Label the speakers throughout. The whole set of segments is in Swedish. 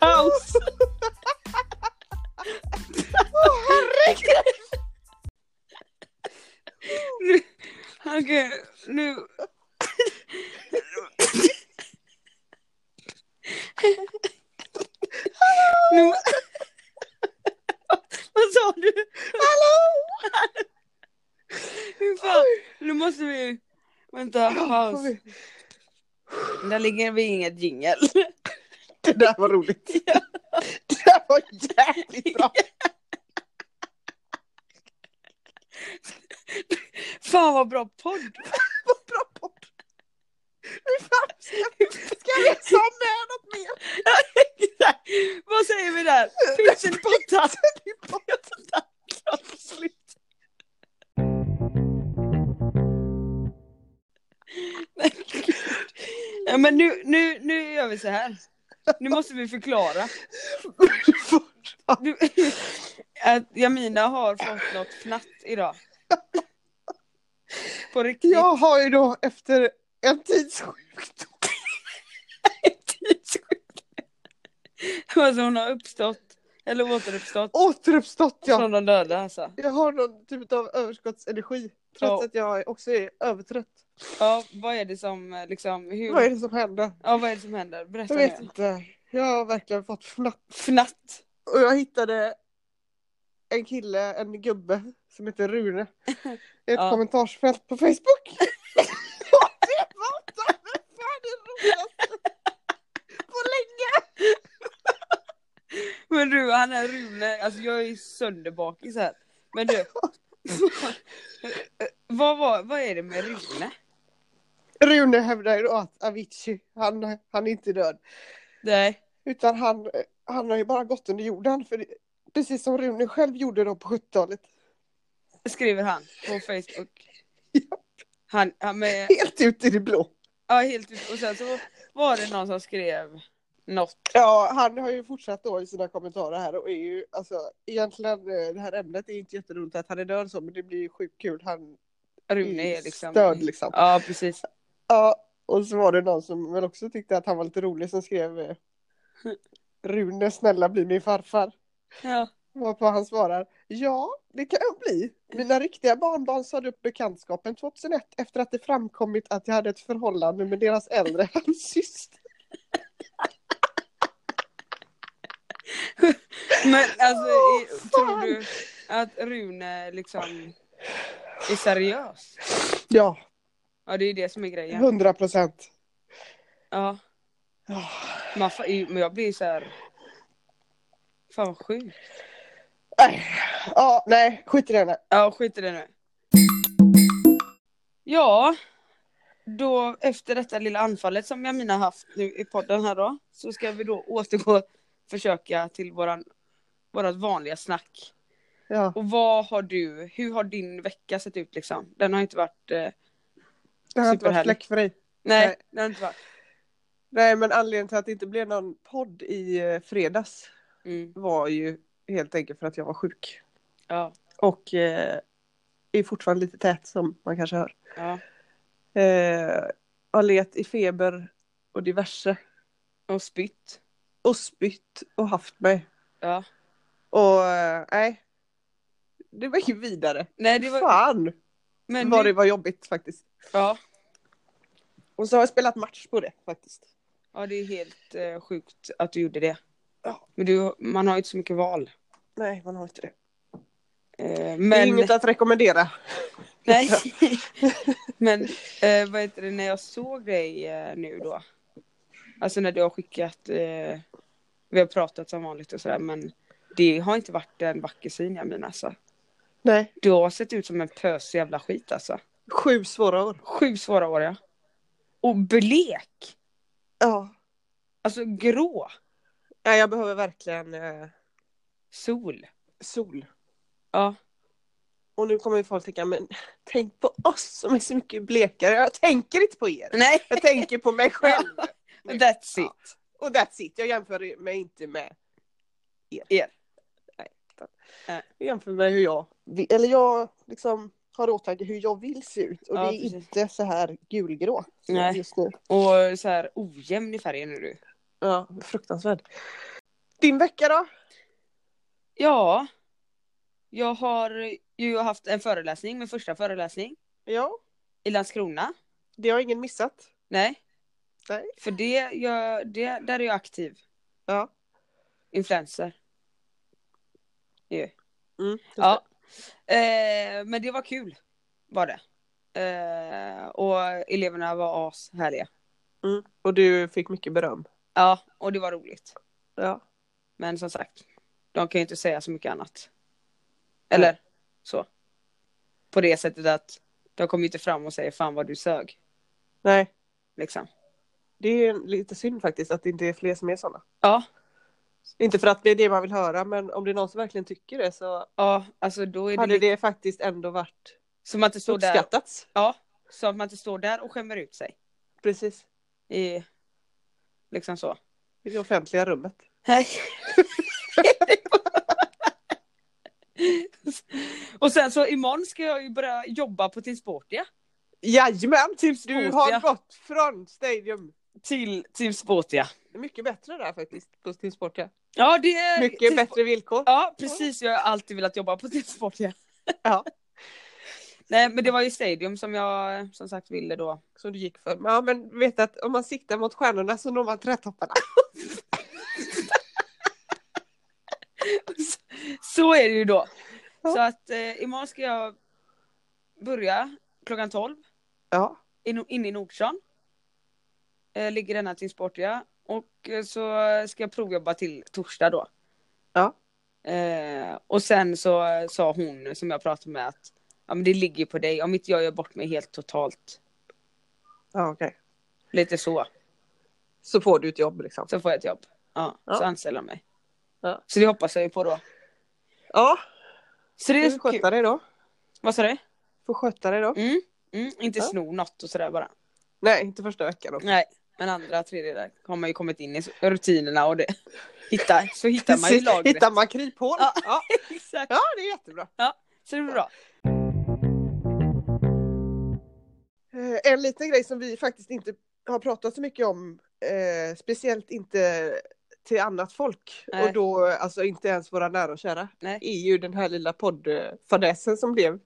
Speaker 1: Paus! Nu- Okej, nu... nu... Vad sa du? Hallå! Hur fan, nu måste vi... Vänta, paus.
Speaker 2: får vi-
Speaker 1: Där ligger vi inget jingel.
Speaker 2: Det där var roligt. Det där var jävligt bra.
Speaker 1: Fan vad bra podd!
Speaker 2: Vad bra podd. Hur fan ska, ska vi ta med något mer?
Speaker 1: vad säger vi där? Pytsen i pottan! Ja, men nu, nu, nu gör vi så här. Nu måste vi förklara. Du, att Jamina har fått något fnatt idag. På riktigt.
Speaker 2: Jag har ju då efter en tids sjukdom.
Speaker 1: Alltså hon har uppstått. Eller återuppstått.
Speaker 2: Återuppstått ja.
Speaker 1: Från de döda alltså.
Speaker 2: Jag har någon typ av överskottsenergi. Trots
Speaker 1: Ja.
Speaker 2: att jag också är övertrött.
Speaker 1: Ja, vad är det som eh, liksom. Hur...
Speaker 2: Vad är det som händer?
Speaker 1: Ja, vad är det som händer? Berätta
Speaker 2: Jag vet
Speaker 1: nu.
Speaker 2: inte. Jag har verkligen fått fnatt.
Speaker 1: Fnatt.
Speaker 2: Och jag hittade en kille, en gubbe som heter Rune. I ett
Speaker 1: Ja.
Speaker 2: kommentarsfält på Facebook. Och det var fan det roligaste på länge!
Speaker 1: Men du, han är Rune. Alltså jag är ju sönderbakis här. Men du. vad, var, vad är det med Rune?
Speaker 2: Rune hävdar ju då att Avicii, han, han är inte död.
Speaker 1: Nej.
Speaker 2: Utan han, han har ju bara gått under jorden. För det, precis som Rune själv gjorde då på 70-talet.
Speaker 1: Skriver han på Facebook. Han, han med,
Speaker 2: Helt ut i det blå.
Speaker 1: ja helt ut. Och sen så var det någon som skrev något.
Speaker 2: Ja, han har ju fortsatt då i sina kommentarer här och är ju, alltså egentligen eh, det här ämnet är ju inte jätteroligt att han är död så, men det blir ju sjukt kul. Han
Speaker 1: Rune är liksom.
Speaker 2: stöd liksom. Ja.
Speaker 1: Ja precis.
Speaker 2: och så var det någon som väl också tyckte att han var lite rolig som skrev eh, Rune snälla bli min farfar.
Speaker 1: Ja.
Speaker 2: Varpå han svarar ja, det kan jag bli. Mina riktiga barnbarn sade upp bekantskapen 2001 efter att det framkommit att jag hade ett förhållande med deras äldre halvsyster.
Speaker 1: Men alltså i,
Speaker 2: Åh,
Speaker 1: tror
Speaker 2: fan.
Speaker 1: du att Rune liksom är seriös?
Speaker 2: Ja,
Speaker 1: Ja det är ju det som är grejen.
Speaker 2: 100 procent.
Speaker 1: Ja. Man, fa- i- men jag blir ju så här. Fan vad sjukt.
Speaker 2: Nej, Äh. ja, nej, skit i det nu.
Speaker 1: Ja, skit i det nu. Ja, då efter detta lilla anfallet som Jamina haft nu i podden här då, så ska vi då återgå försöka till våran, vårat vanliga snack.
Speaker 2: Ja.
Speaker 1: Och vad har du, hur har din vecka sett ut liksom? Den har inte varit, eh,
Speaker 2: Det har inte varit
Speaker 1: Superhärligt.
Speaker 2: fläckfri.
Speaker 1: nej,
Speaker 2: Nej.
Speaker 1: den har inte varit.
Speaker 2: Nej, men anledningen till att det inte blev någon podd i eh, fredags
Speaker 1: Mm,
Speaker 2: var ju helt enkelt för att jag var sjuk.
Speaker 1: ja,
Speaker 2: Och eh, är fortfarande lite tät som man kanske hör.
Speaker 1: ja.
Speaker 2: Eh, har legat i feber och diverse.
Speaker 1: Och spytt.
Speaker 2: Och spytt och haft mig.
Speaker 1: Ja.
Speaker 2: Och eh, nej. Det var ju vidare.
Speaker 1: Nej, det var...
Speaker 2: Fan
Speaker 1: men
Speaker 2: vad
Speaker 1: nu-
Speaker 2: det var jobbigt faktiskt.
Speaker 1: Ja,
Speaker 2: Och så har jag spelat match på det faktiskt.
Speaker 1: ja, det är helt eh, sjukt att du gjorde det.
Speaker 2: Ja.
Speaker 1: Men du, man har ju inte så mycket val.
Speaker 2: Nej, man har inte det.
Speaker 1: Eh,
Speaker 2: Men... Det är
Speaker 1: men...
Speaker 2: inget att rekommendera.
Speaker 1: Nej. Men eh, vad heter det, när jag såg dig eh, nu då. Alltså när du har skickat, eh, vi har pratat som vanligt och sådär men det har inte varit en vacker syn jag menar alltså.
Speaker 2: Nej.
Speaker 1: Du har sett ut som en pös jävla skit alltså.
Speaker 2: Sju svåra år.
Speaker 1: Sju svåra år ja. Och blek!
Speaker 2: Ja.
Speaker 1: Alltså grå
Speaker 2: Ja, jag behöver verkligen eh,
Speaker 1: sol.
Speaker 2: sol.
Speaker 1: Ja.
Speaker 2: Och nu kommer ju folk tänka, men tänk på oss som är så mycket blekare. Jag tänker inte på er.
Speaker 1: Nej,
Speaker 2: Jag tänker på mig själv.
Speaker 1: that's it.
Speaker 2: Och that's it. Jag jämför mig inte med er.
Speaker 1: Er.
Speaker 2: Nej. utan
Speaker 1: Nej.
Speaker 2: Jag jämför med hur jag vill. Eller jag liksom har i åtanke hur jag vill se ut. Och
Speaker 1: Ja,
Speaker 2: det är
Speaker 1: precis.
Speaker 2: inte så här gulgrå som
Speaker 1: Nej.
Speaker 2: jag är just nu.
Speaker 1: Och så här ojämn i färgen är du.
Speaker 2: Ja, fruktansvärd. Din vecka då?
Speaker 1: Ja. Jag har ju haft en föreläsning, min första föreläsning
Speaker 2: Ja,
Speaker 1: i Landskrona.
Speaker 2: det har ingen missat.
Speaker 1: Nej.
Speaker 2: Nej.
Speaker 1: För det, jag, det där är jag aktiv.
Speaker 2: Ja.
Speaker 1: Influencer.
Speaker 2: Mm, just
Speaker 1: Ja. Eh, men det var kul. Var det. Eh, och eleverna var ashärliga.
Speaker 2: det. Mm. Och du fick mycket beröm.
Speaker 1: Ja, och det var roligt.
Speaker 2: Ja.
Speaker 1: Men som sagt, de kan ju inte säga så mycket annat. Eller så. På det sättet att de kommer ju inte fram och säger fan vad du sög.
Speaker 2: Nej,
Speaker 1: Liksom.
Speaker 2: det är lite synd faktiskt att det inte är fler som är sådana.
Speaker 1: Ja,
Speaker 2: Inte för att det är det man vill höra, men om det är någon som verkligen tycker det så
Speaker 1: ja, alltså då är det,
Speaker 2: hade
Speaker 1: lite-
Speaker 2: det faktiskt ändå varit
Speaker 1: så man inte står där.
Speaker 2: uppskattats.
Speaker 1: Ja, så att man inte står där och skämmer ut sig.
Speaker 2: Precis,
Speaker 1: I, liksom så.
Speaker 2: i det offentliga rummet.
Speaker 1: Nej. och sen så imorgon ska jag ju börja jobba på Team Sportia.
Speaker 2: Jajamän!
Speaker 1: Team
Speaker 2: Du
Speaker 1: Sportia.
Speaker 2: har gått från Stadium.
Speaker 1: Till Team Sportia.
Speaker 2: Det är mycket bättre där faktiskt på Team Sport. Ja.
Speaker 1: Ja, det är...
Speaker 2: Mycket
Speaker 1: Team
Speaker 2: bättre villkor.
Speaker 1: Ja, precis. Jag har alltid velat jobba på tidssport. Ja.
Speaker 2: Ja.
Speaker 1: Nej, men det var ju Stadium som jag eh, som sagt ville då.
Speaker 2: Som du gick för. Men Ja, men vet att om man siktar mot stjärnorna så når man trätopparna.
Speaker 1: Så är det ju då.
Speaker 2: Ja.
Speaker 1: Så att eh, imorgon ska jag börja klockan 12
Speaker 2: Ja.
Speaker 1: in- inne i Nordstan. Eh, ligger denna till sport, ja. Och eh, så ska jag provjobba till torsdag då.
Speaker 2: Ja.
Speaker 1: Eh, och sen så eh, sa hon som jag pratade med att ja, men det ligger på dig. Om inte jag gör bort mig helt totalt.
Speaker 2: ja okej.
Speaker 1: Lite så.
Speaker 2: Så får du ett jobb liksom.
Speaker 1: Så får jag ett jobb. Ja,
Speaker 2: Ja.
Speaker 1: så anställer de mig.
Speaker 2: Ja.
Speaker 1: Så det hoppas jag ju på då.
Speaker 2: Ja,
Speaker 1: Så det
Speaker 2: du
Speaker 1: är
Speaker 2: får
Speaker 1: kul.
Speaker 2: sköta dig då.
Speaker 1: Vad sa du?
Speaker 2: Får sköta dig då.
Speaker 1: Mm, mm, inte
Speaker 2: Ja.
Speaker 1: sno något och sådär bara.
Speaker 2: Nej, inte första veckan då.
Speaker 1: Nej, men andra tredje där har man ju kommit in i rutinerna och det. Hitta, så hittar man ju
Speaker 2: Precis,
Speaker 1: lagret.
Speaker 2: Hittar man kryphål.
Speaker 1: Ja.
Speaker 2: Ja.
Speaker 1: Exakt.
Speaker 2: ja, det är jättebra.
Speaker 1: Så det blir bra.
Speaker 2: Eh, En liten grej som vi faktiskt inte har pratat så mycket om, eh, speciellt inte till annat folk
Speaker 1: Nej.
Speaker 2: och då eh, alltså inte ens våra nära och kära,
Speaker 1: Nej.
Speaker 2: är ju den här lilla poddfadäsen som blev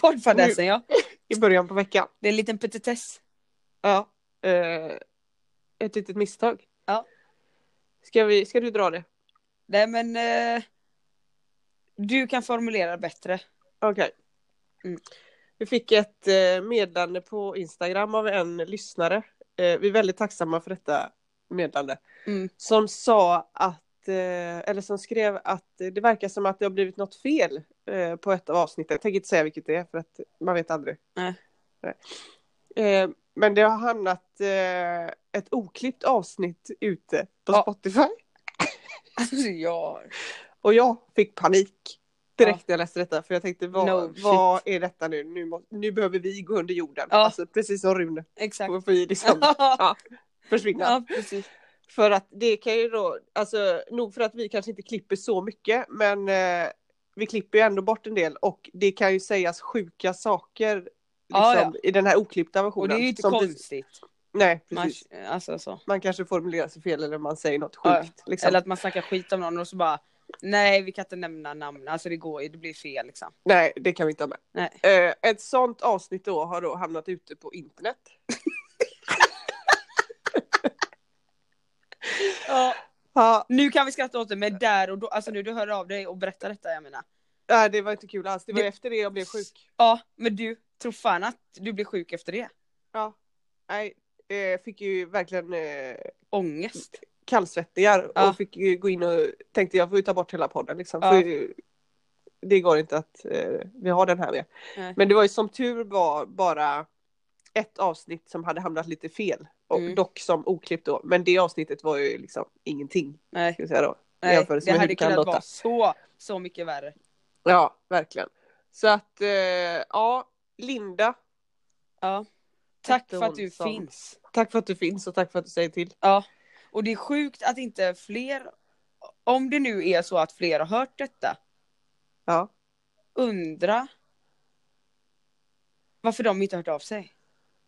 Speaker 1: Poddfadäsen ja.
Speaker 2: i början på veckan.
Speaker 1: Det är en liten petitess.
Speaker 2: Ja. Eh, ett litet misstag.
Speaker 1: Ja.
Speaker 2: Ska, vi, ska du dra det?
Speaker 1: Nej men. Eh, du kan formulera bättre.
Speaker 2: Okej.
Speaker 1: Mm.
Speaker 2: Vi fick ett eh, meddelande på Instagram av en lyssnare. Eh, vi är väldigt tacksamma för detta meddelande.
Speaker 1: Mm.
Speaker 2: Som sa att, eh, eller som skrev att eh, det verkar som att det har blivit något fel eh, på ett av avsnitten. Jag tänker inte säga vilket det är för att man vet aldrig.
Speaker 1: Nej.
Speaker 2: Nej. Eh, men det har hamnat eh, ett oklippt avsnitt ute på
Speaker 1: Ja.
Speaker 2: Spotify.
Speaker 1: Alltså ja.
Speaker 2: Och jag fick panik direkt när jag läste detta för jag tänkte vad,
Speaker 1: No shit.
Speaker 2: vad är detta nu? Nu, må, nu behöver vi gå under jorden.
Speaker 1: Ja.
Speaker 2: Alltså, precis som Rune.
Speaker 1: Exakt.
Speaker 2: Då får vi liksom försvinna.
Speaker 1: ja precis.
Speaker 2: För att det kan ju då, alltså nog för att vi kanske inte klipper så mycket men eh, vi klipper ju ändå bort en del och det kan ju sägas sjuka saker liksom,
Speaker 1: Ja,
Speaker 2: i den här oklippta versionen.
Speaker 1: Och det är ju inte
Speaker 2: som vi-
Speaker 1: konstigt.
Speaker 2: Nej,
Speaker 1: Man,
Speaker 2: precis.
Speaker 1: alltså så.
Speaker 2: Man kanske formulerar sig fel eller man säger något
Speaker 1: Ja,
Speaker 2: sjukt. liksom.
Speaker 1: Eller att man snackar skit om någon och så bara Nej vi kan inte nämna namn, alltså det går ju, det blir fel liksom.
Speaker 2: Nej, det kan vi inte ha med.
Speaker 1: Nej.
Speaker 2: Eh, ett sånt avsnitt då har då hamnat ute på internet.
Speaker 1: Ja,
Speaker 2: Ja,
Speaker 1: nu kan vi skratta åt det men där och då, alltså nu du hör av dig och berättar detta jag menar.
Speaker 2: nej, det var inte kul alls. Det var
Speaker 1: Det-
Speaker 2: efter det jag blev sjuk.
Speaker 1: Ja men du, tror fan att du blir sjuk efter det.
Speaker 2: Ja. Nej, eh, fick ju verkligen eh,
Speaker 1: Ångest.
Speaker 2: kallsvettningar
Speaker 1: Ja.
Speaker 2: och fick ju gå in och tänkte jag får ju ta bort hela podden liksom.
Speaker 1: Ja.
Speaker 2: För det går inte att eh, vi har den här med.
Speaker 1: Nej.
Speaker 2: Men det var ju som tur var bara ett avsnitt som hade hamnat lite fel. Och
Speaker 1: Mm.
Speaker 2: Dock som oklippt då. Men det avsnittet var ju liksom ingenting.
Speaker 1: Nej.
Speaker 2: Ska jag säga då. i
Speaker 1: Nej,
Speaker 2: jämförelse
Speaker 1: det
Speaker 2: med hur
Speaker 1: hade
Speaker 2: det kan
Speaker 1: kunnat
Speaker 2: låta.
Speaker 1: vara så, så mycket värre.
Speaker 2: Ja, verkligen. Så att eh, ja, Linda.
Speaker 1: Ja. Tack
Speaker 2: Hette
Speaker 1: för att
Speaker 2: hon
Speaker 1: du
Speaker 2: som-
Speaker 1: finns.
Speaker 2: Tack för att du finns och tack för att du säger till.
Speaker 1: Ja. Och det är sjukt att inte fler, om det nu är så att fler har hört detta,
Speaker 2: Ja.
Speaker 1: undra varför de inte har hört av sig.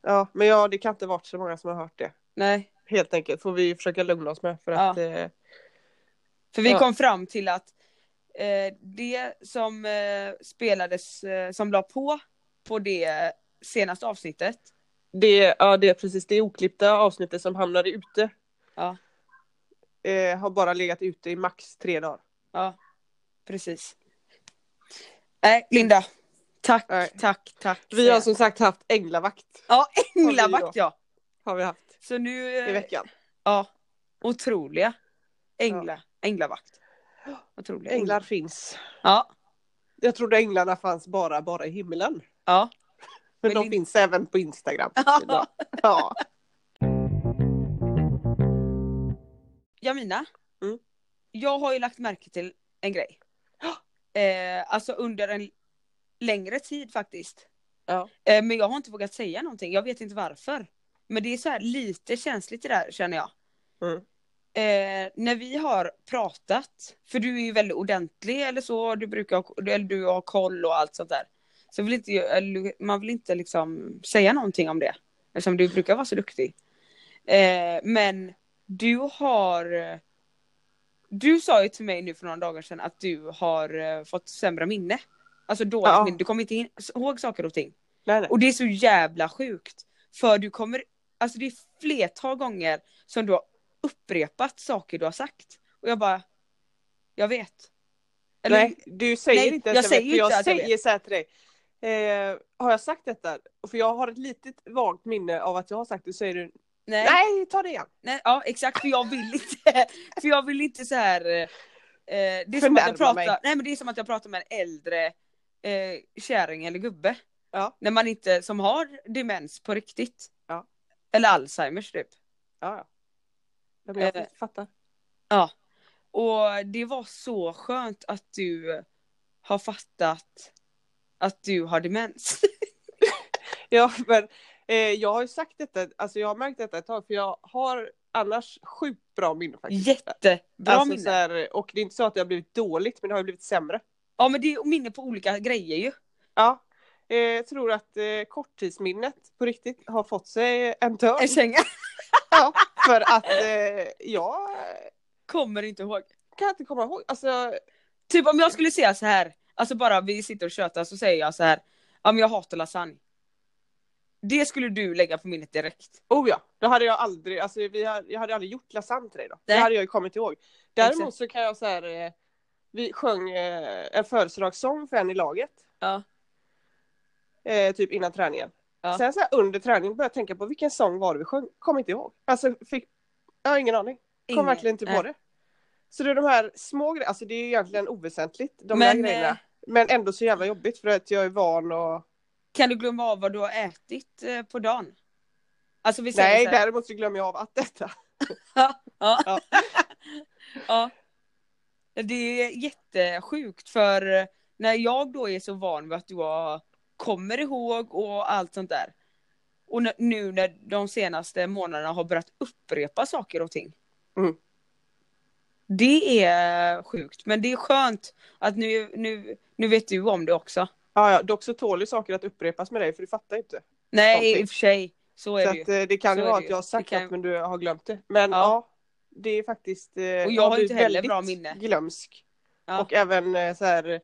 Speaker 2: Ja, men ja, det kan inte varit så många som har hört det.
Speaker 1: Nej,
Speaker 2: Helt enkelt får vi försöka lugna oss med för
Speaker 1: Ja.
Speaker 2: att eh,
Speaker 1: för vi
Speaker 2: Ja.
Speaker 1: kom fram till att eh, det som eh, spelades, eh, som la på, på det senaste avsnittet,
Speaker 2: det, ja, det är precis det oklippta avsnittet som hamnade ute.
Speaker 1: Ja.
Speaker 2: Eh, har bara legat ute i max tre dagar.
Speaker 1: ja, precis. Nej, Linda. Tack,
Speaker 2: Nej.
Speaker 1: tack, tack.
Speaker 2: Vi har som sagt haft änglavakt.
Speaker 1: Ja, änglavakt ja.
Speaker 2: Har vi haft
Speaker 1: Så nu...
Speaker 2: i
Speaker 1: eh,
Speaker 2: veckan.
Speaker 1: Ja. Otroliga. Ängla, änglavakt. Otroliga
Speaker 2: Änglar finns.
Speaker 1: Ja.
Speaker 2: Jag trodde änglarna fanns bara, bara i himlen.
Speaker 1: Ja.
Speaker 2: Men,
Speaker 1: Men
Speaker 2: de
Speaker 1: det-
Speaker 2: finns även på Instagram.
Speaker 1: Ja.
Speaker 2: ja.
Speaker 1: Jamina.
Speaker 2: Mm.
Speaker 1: Jag har ju lagt märke till en grej. Eh, alltså under en längre tid faktiskt.
Speaker 2: Ja.
Speaker 1: Eh, men jag har inte vågat säga någonting. Jag vet inte varför. Men det är så här lite känsligt det där känner jag.
Speaker 2: Mm.
Speaker 1: Eh, när vi har pratat, för du är ju väldigt ordentlig eller så, du brukar ha, eller du har koll och allt sånt där. Så vill inte, jag- eller man vill inte liksom säga någonting om det. Eftersom du brukar vara så duktig. Eh, men du har... Du sa ju till mig nu för några dagar sedan att du har eh, fått sämre minne. Alltså dåligt
Speaker 2: Ja.
Speaker 1: minne, du kommer inte in, ihåg saker och ting.
Speaker 2: Nej, nej.
Speaker 1: Och det är så jävla sjukt. För du kommer, alltså det är flertal gånger som du har upprepat saker du har sagt. Och jag bara, jag vet. Eller,
Speaker 2: nej, du säger
Speaker 1: Nej,
Speaker 2: inte
Speaker 1: jag
Speaker 2: ens
Speaker 1: säger
Speaker 2: vet, för jag
Speaker 1: inte att jag
Speaker 2: säger så här till dig. Eh, har jag sagt detta? För jag har ett litet vagt minne av att jag har sagt det, så säger du
Speaker 1: nej,
Speaker 2: nej, ta det igen.
Speaker 1: nej, ja exakt för jag vill inte, för jag vill inte så här. eh, det, är som att
Speaker 2: Förnärma
Speaker 1: jag pratar,
Speaker 2: mig.
Speaker 1: nej, men det är som att jag pratar med en äldre eh, kärring eller gubbe.
Speaker 2: Ja.
Speaker 1: När man inte, som har demens på riktigt.
Speaker 2: Ja.
Speaker 1: Eller Alzheimers typ.
Speaker 2: Ja, ja. Ja, men Jag
Speaker 1: Eh.
Speaker 2: fattar.
Speaker 1: Och det var så skönt att du har fattat att du har demens.
Speaker 2: Ja, men, eh, jag har ju sagt detta, alltså jag har märkt detta ett tag, för jag har annars sjukt bra minne faktiskt.
Speaker 1: Jättebra
Speaker 2: alltså,
Speaker 1: minne.
Speaker 2: Så här, och det är inte så att det har blivit dåligt, men det har ju blivit sämre.
Speaker 1: Ja men det är minne på olika grejer ju.
Speaker 2: Ja, eh, jag tror att eh, korttidsminnet på riktigt har fått sig en törn.
Speaker 1: En känga.
Speaker 2: Ja, för att eh, jag
Speaker 1: Kommer inte ihåg.
Speaker 2: kan inte komma ihåg. Alltså,
Speaker 1: Typ om jag skulle säga så här. Alltså bara vi sitter och tjötar så säger jag så här. Ja men jag hatar lasagne. Det skulle du lägga på minnet direkt.
Speaker 2: oh ja, då hade jag aldrig, alltså, vi hade, jag hade aldrig gjort lasagne till dig då. Det
Speaker 1: Nej.
Speaker 2: hade jag ju kommit ihåg. Däremot
Speaker 1: Exakt.
Speaker 2: så kan jag så här, eh, vi sjöng eh, en födelsedagssång för en i laget.
Speaker 1: Ja.
Speaker 2: Eh, typ innan träningen.
Speaker 1: Ja.
Speaker 2: Sen så här, under träningen började jag tänka på vilken sång var det vi sjöng? Kom inte ihåg. Alltså, fick, jag har ingen aning. Kom
Speaker 1: Ingen-
Speaker 2: verkligen inte på
Speaker 1: nej.
Speaker 2: det. Så det är de här små grejerna, alltså det är ju egentligen oväsentligt de
Speaker 1: Men,
Speaker 2: här
Speaker 1: eh,
Speaker 2: grejerna. Men ändå så jävla jobbigt för att jag är van och...
Speaker 1: Kan du glömma av vad du har ätit eh, på dagen? Alltså vi säger
Speaker 2: Nej,
Speaker 1: så här.
Speaker 2: däremot så glömmer jag av att detta.
Speaker 1: Ja.
Speaker 2: Ja.
Speaker 1: ja. Det är jättesjukt för när jag då är så van vid att du har- kommer ihåg och allt sånt där. Och n- nu när de senaste månaderna har börjat upprepa saker och ting.
Speaker 2: Mm.
Speaker 1: Det är sjukt men det är skönt att nu, nu, nu vet du om det också.
Speaker 2: Ja, ja, dock så tål ju saker att upprepas med dig för du fattar ju inte.
Speaker 1: Nej
Speaker 2: Någonting.
Speaker 1: i och för sig, så är
Speaker 2: Så
Speaker 1: det ju.
Speaker 2: att, eh, det kan
Speaker 1: Så
Speaker 2: ju
Speaker 1: är det
Speaker 2: vara
Speaker 1: ju.
Speaker 2: att jag har sagt
Speaker 1: Det kan-
Speaker 2: något men du har glömt det. Men
Speaker 1: Ja.
Speaker 2: ja, det är faktiskt... eh,
Speaker 1: jag
Speaker 2: jag
Speaker 1: har ju inte
Speaker 2: blivit
Speaker 1: heller bra
Speaker 2: väldigt
Speaker 1: minne.
Speaker 2: glömsk.
Speaker 1: Ja.
Speaker 2: Och även eh, så här,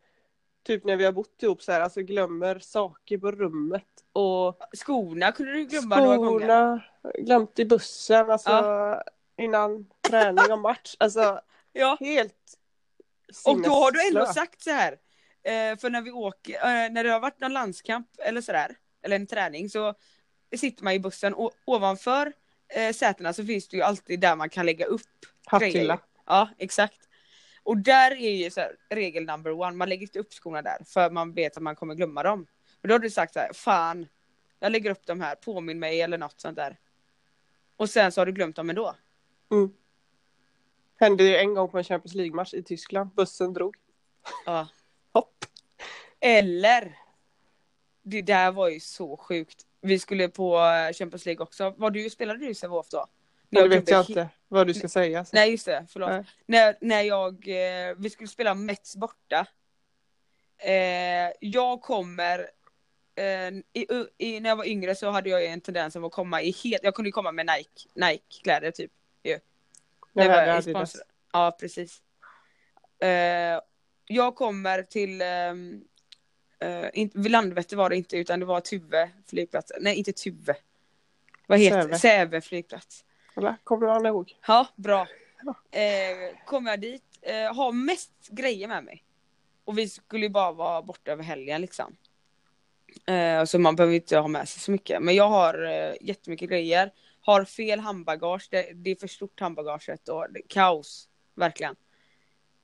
Speaker 2: typ när vi har bott ihop så här, alltså glömmer saker på rummet och
Speaker 1: Skorna kunde du glömma några gånger.
Speaker 2: skorna, glömt i bussen, alltså innan träning och match. Alltså
Speaker 1: Ja.
Speaker 2: helt
Speaker 1: Och då har du ändå
Speaker 2: sinnesslö.
Speaker 1: sagt så här. eh, För när vi åker, eh, när det har varit någon landskamp eller sådär, eller en träning så sitter man i bussen och ovanför eh, sätena så finns det ju alltid där man kan lägga upp
Speaker 2: Hattilla.
Speaker 1: Ja, exakt. Och där är ju så här, regel number one, man lägger inte upp skorna där för man vet att man kommer glömma dem. Men då har du sagt så här, fan, Jag lägger upp dem här, påminn mig eller något sånt där. Och sen så har du glömt dem ändå.
Speaker 2: Mm. Hände ju en gång på en Champions League-match i Tyskland. Bussen drog.
Speaker 1: Ja.
Speaker 2: Hopp.
Speaker 1: Eller. Det där var ju så sjukt. Vi skulle på eh, Champions League också. Var du, spelade du i Sävehof då?
Speaker 2: Nu vet
Speaker 1: glömde
Speaker 2: jag
Speaker 1: he-
Speaker 2: inte vad du ska säga. så-
Speaker 1: Nej just det, förlåt.
Speaker 2: Nej.
Speaker 1: När, när jag, eh, vi skulle spela Mets borta. Eh, jag kommer, eh, i, i, när jag var yngre så hade jag ju en tendens av att komma i helt, jag kunde ju komma med Nike, Nike-kläder typ.
Speaker 2: Jag
Speaker 1: Nej,
Speaker 2: hade
Speaker 1: vad-
Speaker 2: Adidas.
Speaker 1: sponsor- Ja, precis. Eh, jag kommer till, ehm, eh, inte- vid Landvetter var det inte, utan det var Tuve flygplats. Nej, inte Tuve. Vad heter
Speaker 2: Säve.
Speaker 1: det? Säve flygplats.
Speaker 2: Eller, Kommer han ihåg?
Speaker 1: Ja, bra. Eh, kommer jag dit, eh, har mest grejer med mig. Och vi skulle ju bara vara borta över helgen liksom. Eh, så man behöver inte ha med sig så mycket. Men jag har eh, jättemycket grejer. Har fel handbagage, det, det är för stort handbagaget och det, kaos. Verkligen.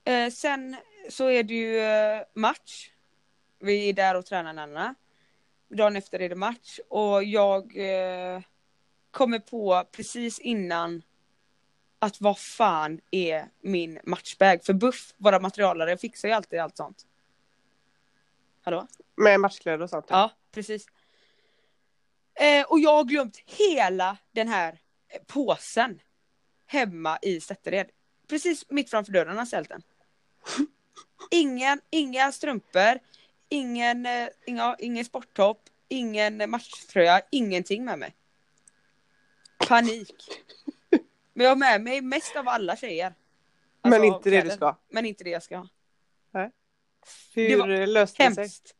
Speaker 1: Eh, sen så är det ju eh, match. Vi är där och tränar Nanna. Dagen efter är det match och jag eh, kommer på precis innan att vad fan är min matchbag? För Buff, våra materialare, fixar ju alltid allt sånt. Hallå?
Speaker 2: Med matchkläder och sånt.
Speaker 1: Ja, precis. Eh, och jag har glömt hela den här eh, påsen hemma i Sättered. Precis mitt framför dörren har jag ställt den. Ingen, inga strumpor, ingen, eh, inga, ingen sporttopp, ingen eh, matchtröja, ingenting med mig. Panik. Men jag har med mig mest av alla tjejer. Alltså,
Speaker 2: Men inte det du
Speaker 1: kläder.
Speaker 2: ska.
Speaker 1: Men inte det jag ska ha.
Speaker 2: Hur
Speaker 1: var
Speaker 2: löste det sig?
Speaker 1: Hemskt.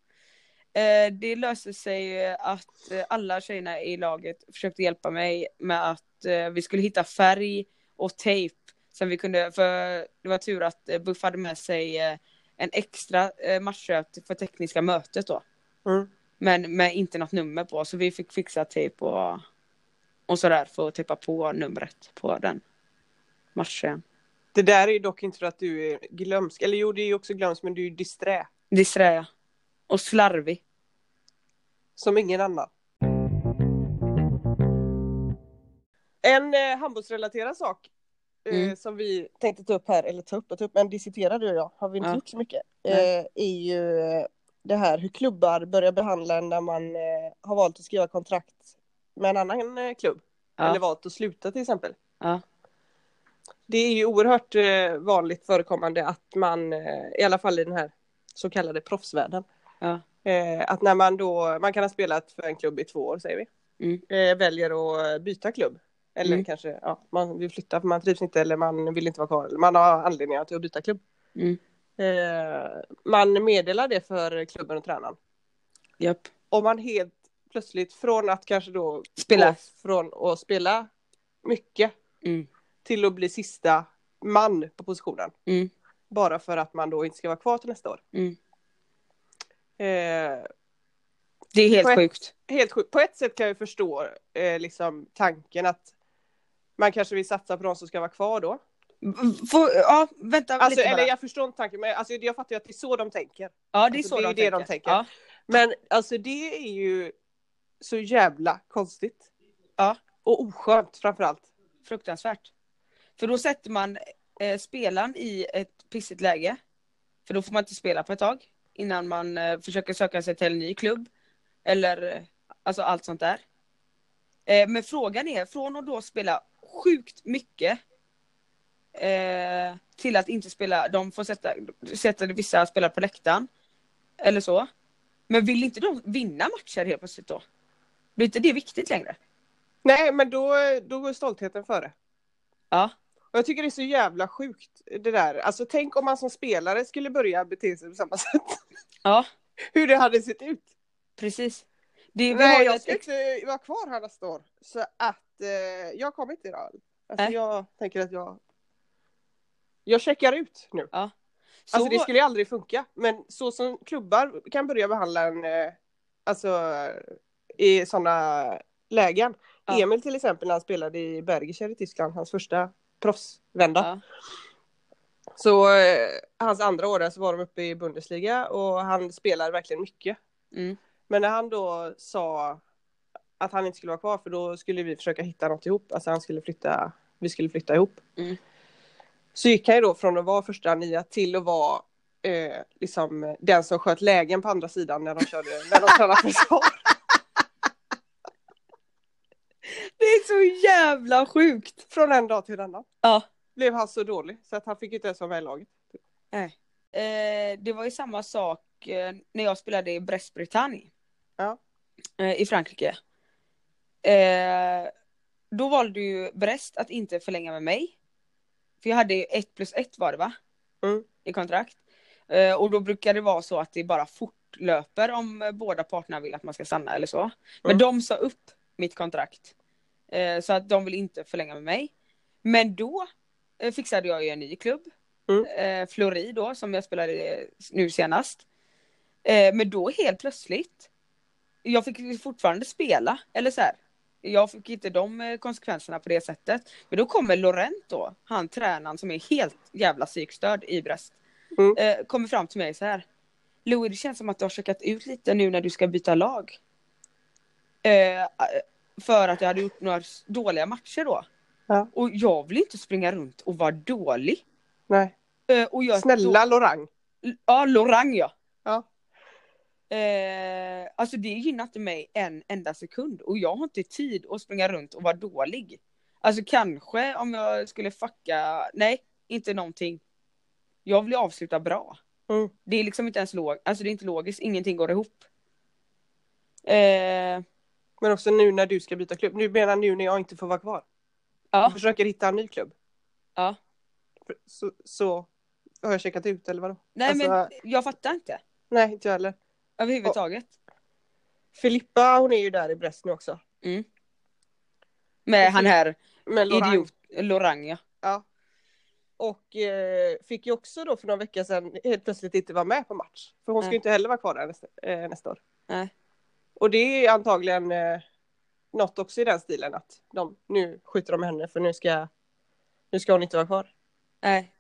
Speaker 1: Eh, Det löste sig eh, att eh, alla tjejerna i laget försökte hjälpa mig med att eh, vi skulle hitta färg och tejp. Sen vi kunde, för det var tur att eh, Buff hade med sig eh, en extra eh, matchköp för tekniska mötet då.
Speaker 2: Mm.
Speaker 1: Men med inte något nummer på så vi fick fixa tejp och, och sådär för att tejpa på numret på den matchen.
Speaker 2: Det där är ju dock inte för att du är glömsk. Eller jo, det är ju också glömsk, men du är ju disträ.
Speaker 1: Disträ jag. och slarvig.
Speaker 2: Som ingen annan. En eh, handbollsrelaterad sak eh,
Speaker 1: Mm.
Speaker 2: som vi tänkte ta upp här, eller ta upp och ta upp, men diskutera du och jag, har vi inte
Speaker 1: Ja.
Speaker 2: gjort så mycket,
Speaker 1: Nej.
Speaker 2: eh, är ju eh, det här hur klubbar börjar behandla en när man eh, har valt att skriva kontrakt med en annan eh, klubb.
Speaker 1: Ja.
Speaker 2: Eller valt att sluta till exempel.
Speaker 1: Ja.
Speaker 2: Det är ju oerhört eh, vanligt förekommande att man, eh, i alla fall i den här så kallade proffsvärlden,
Speaker 1: Ja.
Speaker 2: eh, att när man då, man kan ha spelat för en klubb i två år säger vi,
Speaker 1: Mm.
Speaker 2: eh, väljer att byta klubb. Eller
Speaker 1: Mm.
Speaker 2: kanske, ja, man vill flytta för man trivs inte eller man vill inte vara kvar. Eller man har anledningar till att byta klubb.
Speaker 1: Mm.
Speaker 2: Eh, man meddelar det för klubben och tränaren.
Speaker 1: Japp.
Speaker 2: Om man helt plötsligt från att kanske då
Speaker 1: Spela.
Speaker 2: gå från att spela mycket
Speaker 1: Mm.
Speaker 2: till att bli sista man på positionen.
Speaker 1: Mm.
Speaker 2: Bara för att man då inte ska vara kvar till nästa år.
Speaker 1: Mm.
Speaker 2: Eh,
Speaker 1: Det är helt
Speaker 2: Får jag-
Speaker 1: sjukt.
Speaker 2: helt sjukt. På ett sätt kan jag förstå eh, liksom, tanken att man kanske vill satsa på de som ska vara kvar då.
Speaker 1: Får, ja, vänta
Speaker 2: Alltså,
Speaker 1: lite bara.
Speaker 2: eller jag förstår inte tanken, men alltså, jag fattar ju att det är så de tänker.
Speaker 1: ja, det är så
Speaker 2: alltså, det är
Speaker 1: de
Speaker 2: ju det de
Speaker 1: tänker.
Speaker 2: tänker.
Speaker 1: Ja,
Speaker 2: Men alltså det är ju så jävla konstigt.
Speaker 1: Ja.
Speaker 2: Och oskönt framförallt.
Speaker 1: fruktansvärt. För då sätter man eh, spelaren i ett pissigt läge. För då får man inte spela på ett tag. Innan man eh, försöker söka sig till en ny klubb. Eller eh, alltså allt sånt där. Eh, men frågan är, från att då spela sjukt mycket. Eh, till att inte spela, de får sätta, sätta vissa spelare på läktaren. Eller så. Men vill inte de vinna matcher helt plötsligt då? Blir inte det viktigt längre?
Speaker 2: Nej, men då, då går stoltheten före.
Speaker 1: Ja.
Speaker 2: Och jag tycker det är så jävla sjukt det där. Alltså tänk om man som spelare skulle börja bete sig på samma sätt.
Speaker 1: Ja.
Speaker 2: Hur det hade sett ut.
Speaker 1: Precis. Det, vi har
Speaker 2: Nej,
Speaker 1: ju
Speaker 2: jag
Speaker 1: ett
Speaker 2: ska
Speaker 1: ex-
Speaker 2: inte vara kvar här nästa år. Så att eh, jag kommer inte idag. Alltså,
Speaker 1: Nej.
Speaker 2: jag tänker att jag... Jag checkar ut nu.
Speaker 1: så,
Speaker 2: Alltså det skulle ju aldrig funka. Men så som klubbar kan börja behandla en, eh, alltså i sådana lägen.
Speaker 1: Ja.
Speaker 2: Emil till exempel när han spelade i Bergischer i Tyskland, hans första
Speaker 1: Ja.
Speaker 2: proffsvända. Så eh, hans andra år där så var de uppe i Bundesliga och han spelade verkligen mycket.
Speaker 1: Mm,
Speaker 2: Men när han då sa att han inte skulle vara kvar för då skulle vi försöka hitta något ihop. Alltså han skulle flytta, vi skulle flytta ihop.
Speaker 1: Mm.
Speaker 2: Så gick han ju då från att vara första nia till att vara eh, liksom den som sköt lägen på andra sidan när de körde, när de tränade försvar.
Speaker 1: Det är så jävla sjukt!
Speaker 2: Från en dag till en annan.
Speaker 1: Ja.
Speaker 2: Blev han så dålig så att han fick inte ens vara med i laget.
Speaker 1: Eh, det var ju samma sak eh, när jag spelade i Brest-Bretagne.
Speaker 2: Ja.
Speaker 1: Eh, I Frankrike. Eh, då valde ju Brest att inte förlänga med mig. För jag hade ju ett plus ett var det va?
Speaker 2: Mm.
Speaker 1: I kontrakt. Eh, och då brukar det vara så att det bara fortlöper om eh, båda parterna vill att man ska stanna eller så. Men
Speaker 2: Mm.
Speaker 1: de sa upp mitt kontrakt. Eh, så att de vill inte förlänga med mig. Men då eh, fixade jag ju en ny klubb
Speaker 2: Mm.
Speaker 1: eh, Flori då som jag spelade eh, nu senast. Eh, men då helt plötsligt. Jag fick ju fortfarande spela eller så här. Jag fick inte de eh, konsekvenserna på det sättet. Men då kommer Lorent då, han tränaren som är helt jävla psykstörd i Brest.
Speaker 2: Mm.
Speaker 1: Eh, kommer fram till mig så här. Louis, det känns som att du har checkat ut lite nu när du ska byta lag. Eh, för att jag hade gjort några s- dåliga matcher då.
Speaker 2: Ja.
Speaker 1: Och jag vill inte springa runt och vara dålig.
Speaker 2: Nej.
Speaker 1: Eh, och göra ett
Speaker 2: Snälla Lorang.
Speaker 1: Ja, Lorang ja.
Speaker 2: Ja.
Speaker 1: Eh, alltså det gynnar inte mig en enda sekund och jag har inte tid att springa runt och vara dålig. Alltså kanske om jag skulle fucka, nej, inte någonting. Jag vill ju avsluta bra.
Speaker 2: Mm.
Speaker 1: Det är liksom inte ens log- alltså det är inte logiskt, ingenting går ihop. Eh,
Speaker 2: Men också nu när du ska byta klubb. Nu menar nu när jag inte får vara kvar.
Speaker 1: ja,
Speaker 2: Jag försöker hitta en ny klubb.
Speaker 1: ja.
Speaker 2: För- Så, så har jag checkat ut eller vadå?
Speaker 1: Nej
Speaker 2: Alltså,
Speaker 1: men jag fattar inte.
Speaker 2: Nej, inte jag heller.
Speaker 1: Överhuvudtaget.
Speaker 2: Filippa hon är ju där i Brest nu också.
Speaker 1: Mm. Med han här,
Speaker 2: Men Lorang.
Speaker 1: idiot, Lorang ja.
Speaker 2: Ja. Och eh, fick ju också då för några veckor sedan helt plötsligt inte vara med på match. För hon ska
Speaker 1: Nej.
Speaker 2: ju inte heller vara kvar där nästa, eh, nästa år.
Speaker 1: Nej.
Speaker 2: Och det är antagligen eh, något också i den stilen att de, nu skjuter de henne för nu ska, nu ska hon inte vara kvar.
Speaker 1: Nej.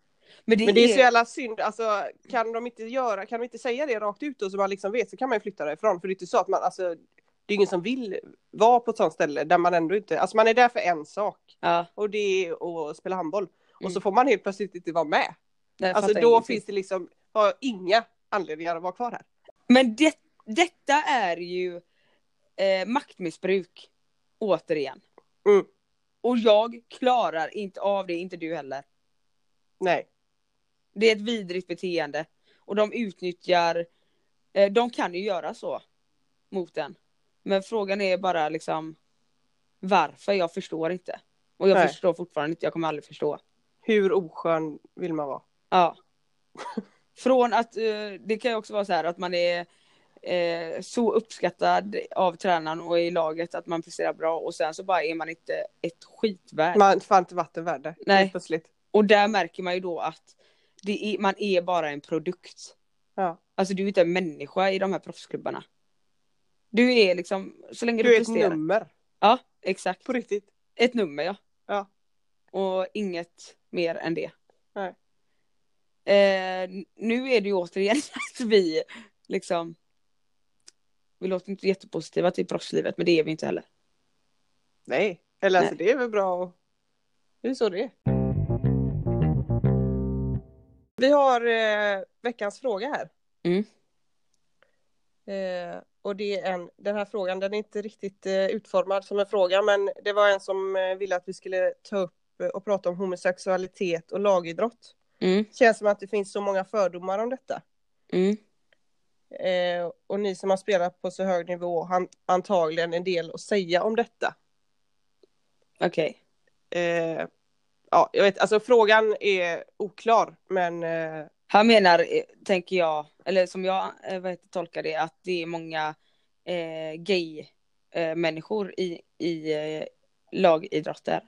Speaker 1: Men det,
Speaker 2: Men det är så jävla synd, alltså kan de inte göra, kan de inte säga det rakt ut och så man liksom vet så kan man ju flytta därifrån. För det är inte så att man, alltså det är ingen som vill vara på ett sånt ställe där man ändå inte, alltså man är där för en sak
Speaker 1: Ja,
Speaker 2: och det är att spela handboll.
Speaker 1: Mm.
Speaker 2: Och så får man helt plötsligt inte vara med.
Speaker 1: jag
Speaker 2: Alltså
Speaker 1: fattar
Speaker 2: då
Speaker 1: ingenting.
Speaker 2: finns det liksom, har jag inga anledningar att vara kvar här.
Speaker 1: Men det, detta är ju eh, maktmissbruk återigen.
Speaker 2: Mm.
Speaker 1: Och jag klarar inte av det, inte du heller.
Speaker 2: Nej.
Speaker 1: Det är ett vidrigt beteende. Och de utnyttjar, eh, de kan ju göra så mot en. Men frågan är bara liksom varför, jag förstår inte. Och jag
Speaker 2: Nej.
Speaker 1: förstår fortfarande inte, jag kommer aldrig förstå.
Speaker 2: Hur oskön vill man vara?
Speaker 1: Ja. Från att, eh, det kan ju också vara så här att man är eh, så uppskattad av tränaren och i laget att man presterar bra och sen så bara är man inte ett skitvärd.
Speaker 2: Man får inte vatten värde.
Speaker 1: Nej.
Speaker 2: helt Plötsligt.
Speaker 1: Och där märker man ju då att det är, man är bara en produkt.
Speaker 2: Ja.
Speaker 1: Alltså du är inte en människa i de här proffsklubbarna. Du är liksom, så länge du,
Speaker 2: Du är ett
Speaker 1: presterar.
Speaker 2: nummer.
Speaker 1: Ja, exakt.
Speaker 2: På riktigt.
Speaker 1: Ett nummer ja.
Speaker 2: Ja.
Speaker 1: Och inget mer än det.
Speaker 2: Nej.
Speaker 1: Eh, nu är det ju återigen att vi liksom. Vi låter inte jättepositiva till proffslivet men det är vi inte heller.
Speaker 2: Nej. Eller alltså det är väl bra och... Det är så det är. Vi har eh, veckans fråga här.
Speaker 1: Mm.
Speaker 2: Eh, och det är en, den här frågan den är inte riktigt eh, utformad som en fråga men det var en som eh, ville att vi skulle ta upp eh, och prata om homosexualitet och lagidrott.
Speaker 1: Mm,
Speaker 2: känns som att det finns så många fördomar om detta.
Speaker 1: mm,
Speaker 2: Eh, och ni som har spelat på så hög nivå har antagligen en del att säga om detta.
Speaker 1: okej.
Speaker 2: Eh, ja, jag vet, alltså frågan är oklar, men eh,
Speaker 1: Han menar, eh, tänker jag, eller som jag eh, vad heter, tolkar det, att det är många eh, gay-människor i, i eh, lagidrotter.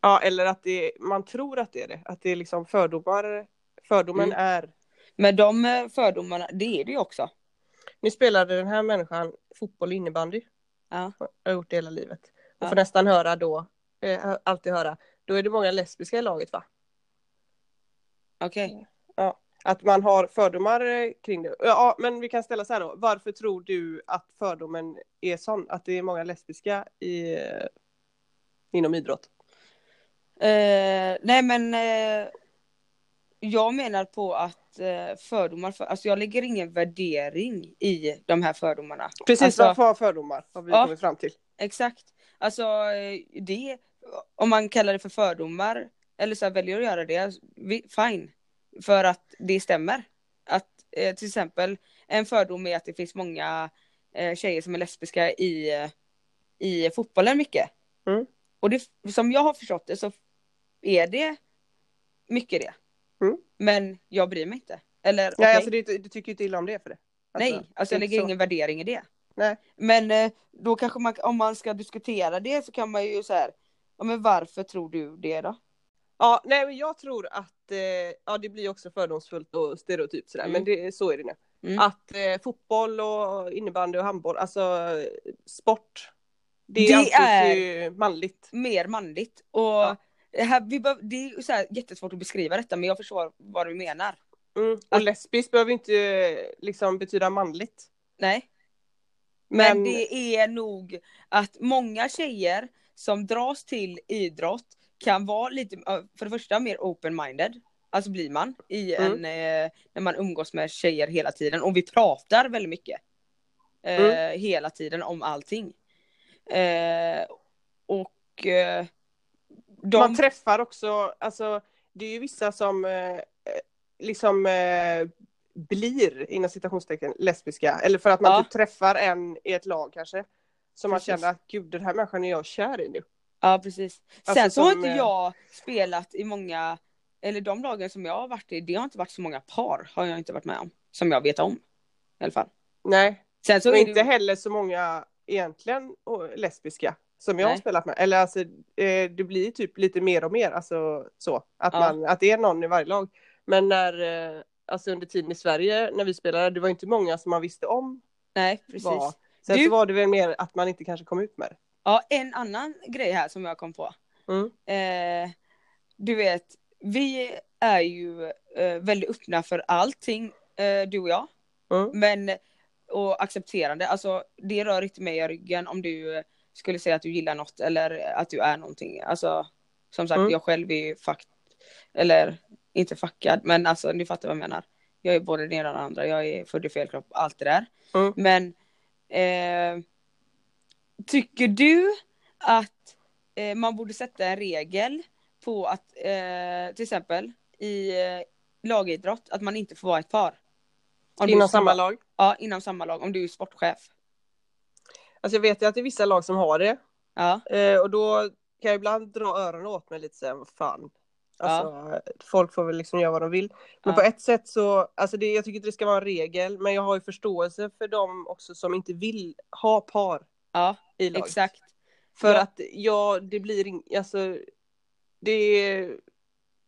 Speaker 2: ja, eller att det, man tror att det är det, att det är liksom fördomar, fördomen
Speaker 1: Mm.
Speaker 2: är.
Speaker 1: Men de eh, fördomarna, det är det ju också.
Speaker 2: Nu spelade den här människan fotboll och innebandy,
Speaker 1: Ja.
Speaker 2: jag har gjort det hela livet. Och
Speaker 1: Ja.
Speaker 2: får nästan höra då, eh, alltid höra, då är det många lesbiska i laget va?
Speaker 1: Okej.
Speaker 2: Att man har fördomar eh, kring det. Ja, men vi kan ställa så här då. Varför tror du att fördomen är sån? Att det är många lesbiska i, eh, inom idrott?
Speaker 1: Eh, nej men eh, jag menar på att eh, fördomar, för, alltså jag lägger ingen värdering i de här fördomarna.
Speaker 2: Precis,
Speaker 1: Alltså-
Speaker 2: varför har fördomar? Har vi
Speaker 1: Ja.
Speaker 2: kommit fram till.
Speaker 1: Exakt. Alltså eh, det, om man kallar det för fördomar eller så här, väljer att göra det, vi- fine. För att det stämmer. Att eh, till exempel en fördom är att det finns många eh, tjejer som är lesbiska i, eh, i fotbollen mycket.
Speaker 2: Mm.
Speaker 1: Och det, som jag har förstått det så är det mycket det.
Speaker 2: Mm.
Speaker 1: Men jag bryr mig inte. Eller
Speaker 2: Nej,
Speaker 1: okej.
Speaker 2: alltså du, du tycker ju inte illa om det för det. Alltså,
Speaker 1: Nej, alltså
Speaker 2: det är
Speaker 1: jag lägger
Speaker 2: så.
Speaker 1: ingen värdering i det.
Speaker 2: Nej.
Speaker 1: Men eh, då kanske man, om man ska diskutera det så kan man ju så här, ja men varför tror du det då?
Speaker 2: Ja, nej, men jag tror att eh, ja, det blir också fördomsfullt och stereotypt sådär,
Speaker 1: Mm.
Speaker 2: men det, så är det nu.
Speaker 1: Mm.
Speaker 2: Att eh, fotboll och innebandy och handboll, alltså eh, sport, det,
Speaker 1: Det
Speaker 2: anses
Speaker 1: är-
Speaker 2: ju manligt.
Speaker 1: Mer manligt. Och
Speaker 2: Ja.
Speaker 1: det här, vi behöv, det är ju så här jättesvårt att beskriva detta men jag förstår vad du menar.
Speaker 2: Mm. Och
Speaker 1: Att-
Speaker 2: lesbisk behöver ju inte eh, liksom betyda manligt.
Speaker 1: Nej. Men,
Speaker 2: Men,
Speaker 1: det är nog att många tjejer som dras till idrott kan vara lite, för det första mer open-minded. Alltså blir man i
Speaker 2: Mm.
Speaker 1: en, eh, när man umgås med tjejer hela tiden och vi pratar väldigt mycket. Eh,
Speaker 2: Mm.
Speaker 1: Hela tiden om allting. Eh, och eh, de,
Speaker 2: man träffar också, alltså det är ju vissa som eh, eh, liksom eh, blir, inom citationstecken, lesbiska. Eller för att man
Speaker 1: Ja.
Speaker 2: typ träffar en i ett lag kanske. Som man
Speaker 1: Precis.
Speaker 2: känner att gud den här människan är jag kär i nu.
Speaker 1: ja precis. Sen
Speaker 2: Alltså
Speaker 1: så har
Speaker 2: som,
Speaker 1: inte
Speaker 2: eh,
Speaker 1: jag spelat i många, eller de lagen som jag har varit i, det har inte varit så många par har jag inte varit med om. Som jag vet om. I alla fall.
Speaker 2: Nej,
Speaker 1: Sen så
Speaker 2: och
Speaker 1: är
Speaker 2: inte
Speaker 1: det, ju-
Speaker 2: heller så många egentligen och lesbiska som jag har
Speaker 1: Nej.
Speaker 2: spelat med. Eller alltså eh, det blir typ lite mer och mer alltså så. Att,
Speaker 1: Ja.
Speaker 2: man, att det är någon i varje lag. Men när, eh, alltså under tiden i Sverige när vi spelade, det var inte många som man visste om
Speaker 1: nej precis.
Speaker 2: var. Sen
Speaker 1: Du-
Speaker 2: så var det väl mer att man inte kanske kom ut med det.
Speaker 1: Ja, en annan grej här som jag kom på.
Speaker 2: Mm.
Speaker 1: Eh, du vet, vi är ju eh, väldigt öppna för allting, eh, du och jag.
Speaker 2: Mm.
Speaker 1: Men, och accepterande, alltså det rör inte mig i ryggen om du eh, skulle säga att du gillar något eller att du är någonting. Alltså, som sagt,
Speaker 2: Mm.
Speaker 1: jag själv är ju fuck, eller inte fuckad, men alltså ni fattar vad jag menar. Jag är både det ena och det andra, jag är född i fel kropp, allt det där.
Speaker 2: Mm.
Speaker 1: Men eh, tycker du att eh, man borde sätta en regel på att eh, till exempel i eh, lagidrott att man inte får vara ett par? Om du är
Speaker 2: Inom
Speaker 1: sport-
Speaker 2: samma lag.
Speaker 1: Ja, inom samma lag om du är sportchef.
Speaker 2: Alltså jag vet ju att det är vissa lag som har det.
Speaker 1: Ja,
Speaker 2: Eh, och då kan jag ibland dra öronen åt mig lite så här, vad fan. Alltså, Folk får väl liksom göra vad de vill. Men
Speaker 1: Ja.
Speaker 2: på ett sätt så, alltså det, jag tycker inte det ska vara en regel, men jag har ju förståelse för dem också som inte vill ha par
Speaker 1: ja
Speaker 2: i laget.
Speaker 1: exakt.
Speaker 2: För
Speaker 1: Ja.
Speaker 2: att ja, det blir ing, alltså det,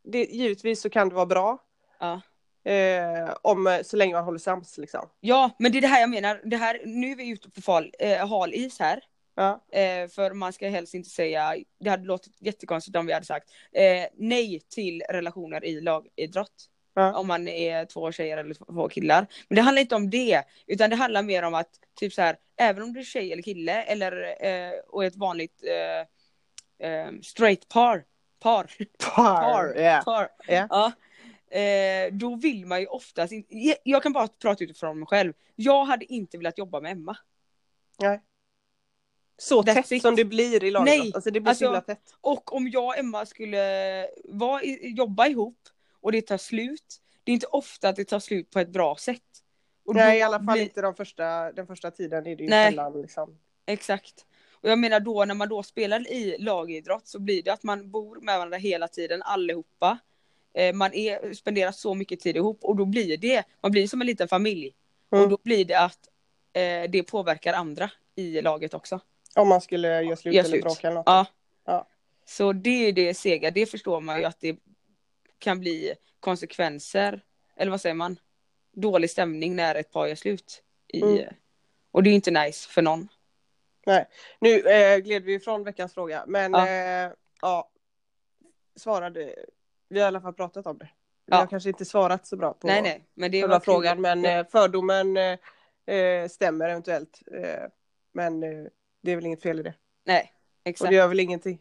Speaker 2: det, givetvis så kan det vara bra.
Speaker 1: Ja.
Speaker 2: Eh, om, så länge man håller sams liksom.
Speaker 1: Ja, men det är det här jag menar. Det här, nu är vi ute på fal, eh, hal is här.
Speaker 2: Ja.
Speaker 1: Eh, för man ska helst inte säga, det hade låtit jättekonstigt om vi hade sagt eh, nej till relationer i lagidrott.
Speaker 2: Ja.
Speaker 1: Om man är två tjejer eller två killar. Men det handlar inte om det, utan det handlar mer om att typ så här, även om du är tjej eller kille eller eh, och ett vanligt eh, eh, straight par, par, Par.
Speaker 2: Yeah.
Speaker 1: par
Speaker 2: Ja.
Speaker 1: ja, eh, då vill man ju oftast inte, jag- jag kan bara prata utifrån mig själv, jag hade inte velat jobba med Emma.
Speaker 2: Så
Speaker 1: That's
Speaker 2: tätt
Speaker 1: it.
Speaker 2: som det blir i laget.
Speaker 1: Nej,
Speaker 2: Alltså det blir
Speaker 1: alltså-
Speaker 2: så himla tätt.
Speaker 1: Och om jag och Emma skulle vara, i- jobba ihop och det tar slut, det är inte ofta att det tar slut på ett bra sätt. Och
Speaker 2: Nej,
Speaker 1: då
Speaker 2: i alla fall
Speaker 1: blir-
Speaker 2: inte de första, den första tiden är det ju
Speaker 1: Nej.
Speaker 2: sällan liksom.
Speaker 1: Exakt. Och jag menar då när man då spelar i lagidrott så blir det att man bor med varandra hela tiden allihopa. Eh, Man är, spenderar så mycket tid ihop och då blir det, man blir som en liten familj.
Speaker 2: Mm.
Speaker 1: Och då blir det att eh, det påverkar andra i laget också.
Speaker 2: Om man skulle göra slut
Speaker 1: Göra
Speaker 2: eller
Speaker 1: slut.
Speaker 2: bråka eller något.
Speaker 1: Ja.
Speaker 2: Ja.
Speaker 1: Så det är ju det sega, det förstår man ju att det kan bli konsekvenser, eller vad säger man? Dålig stämning när ett par gör slut. I,
Speaker 2: Mm.
Speaker 1: Och det är ju inte nice för någon.
Speaker 2: Nu eh, gled vi ifrån veckans fråga, men
Speaker 1: Ja.
Speaker 2: ja. Eh, ja svarade. Vi har i alla fall pratat om det. Men
Speaker 1: Ja.
Speaker 2: Jag kanske inte svarat så bra på
Speaker 1: nej, nej. Men det
Speaker 2: själva
Speaker 1: var kul.
Speaker 2: frågan. Men eh, fördomen eh, eh, stämmer eventuellt. Eh, men eh, det är väl inget fel i det.
Speaker 1: Nej,
Speaker 2: Och
Speaker 1: exakt.
Speaker 2: det gör väl ingenting.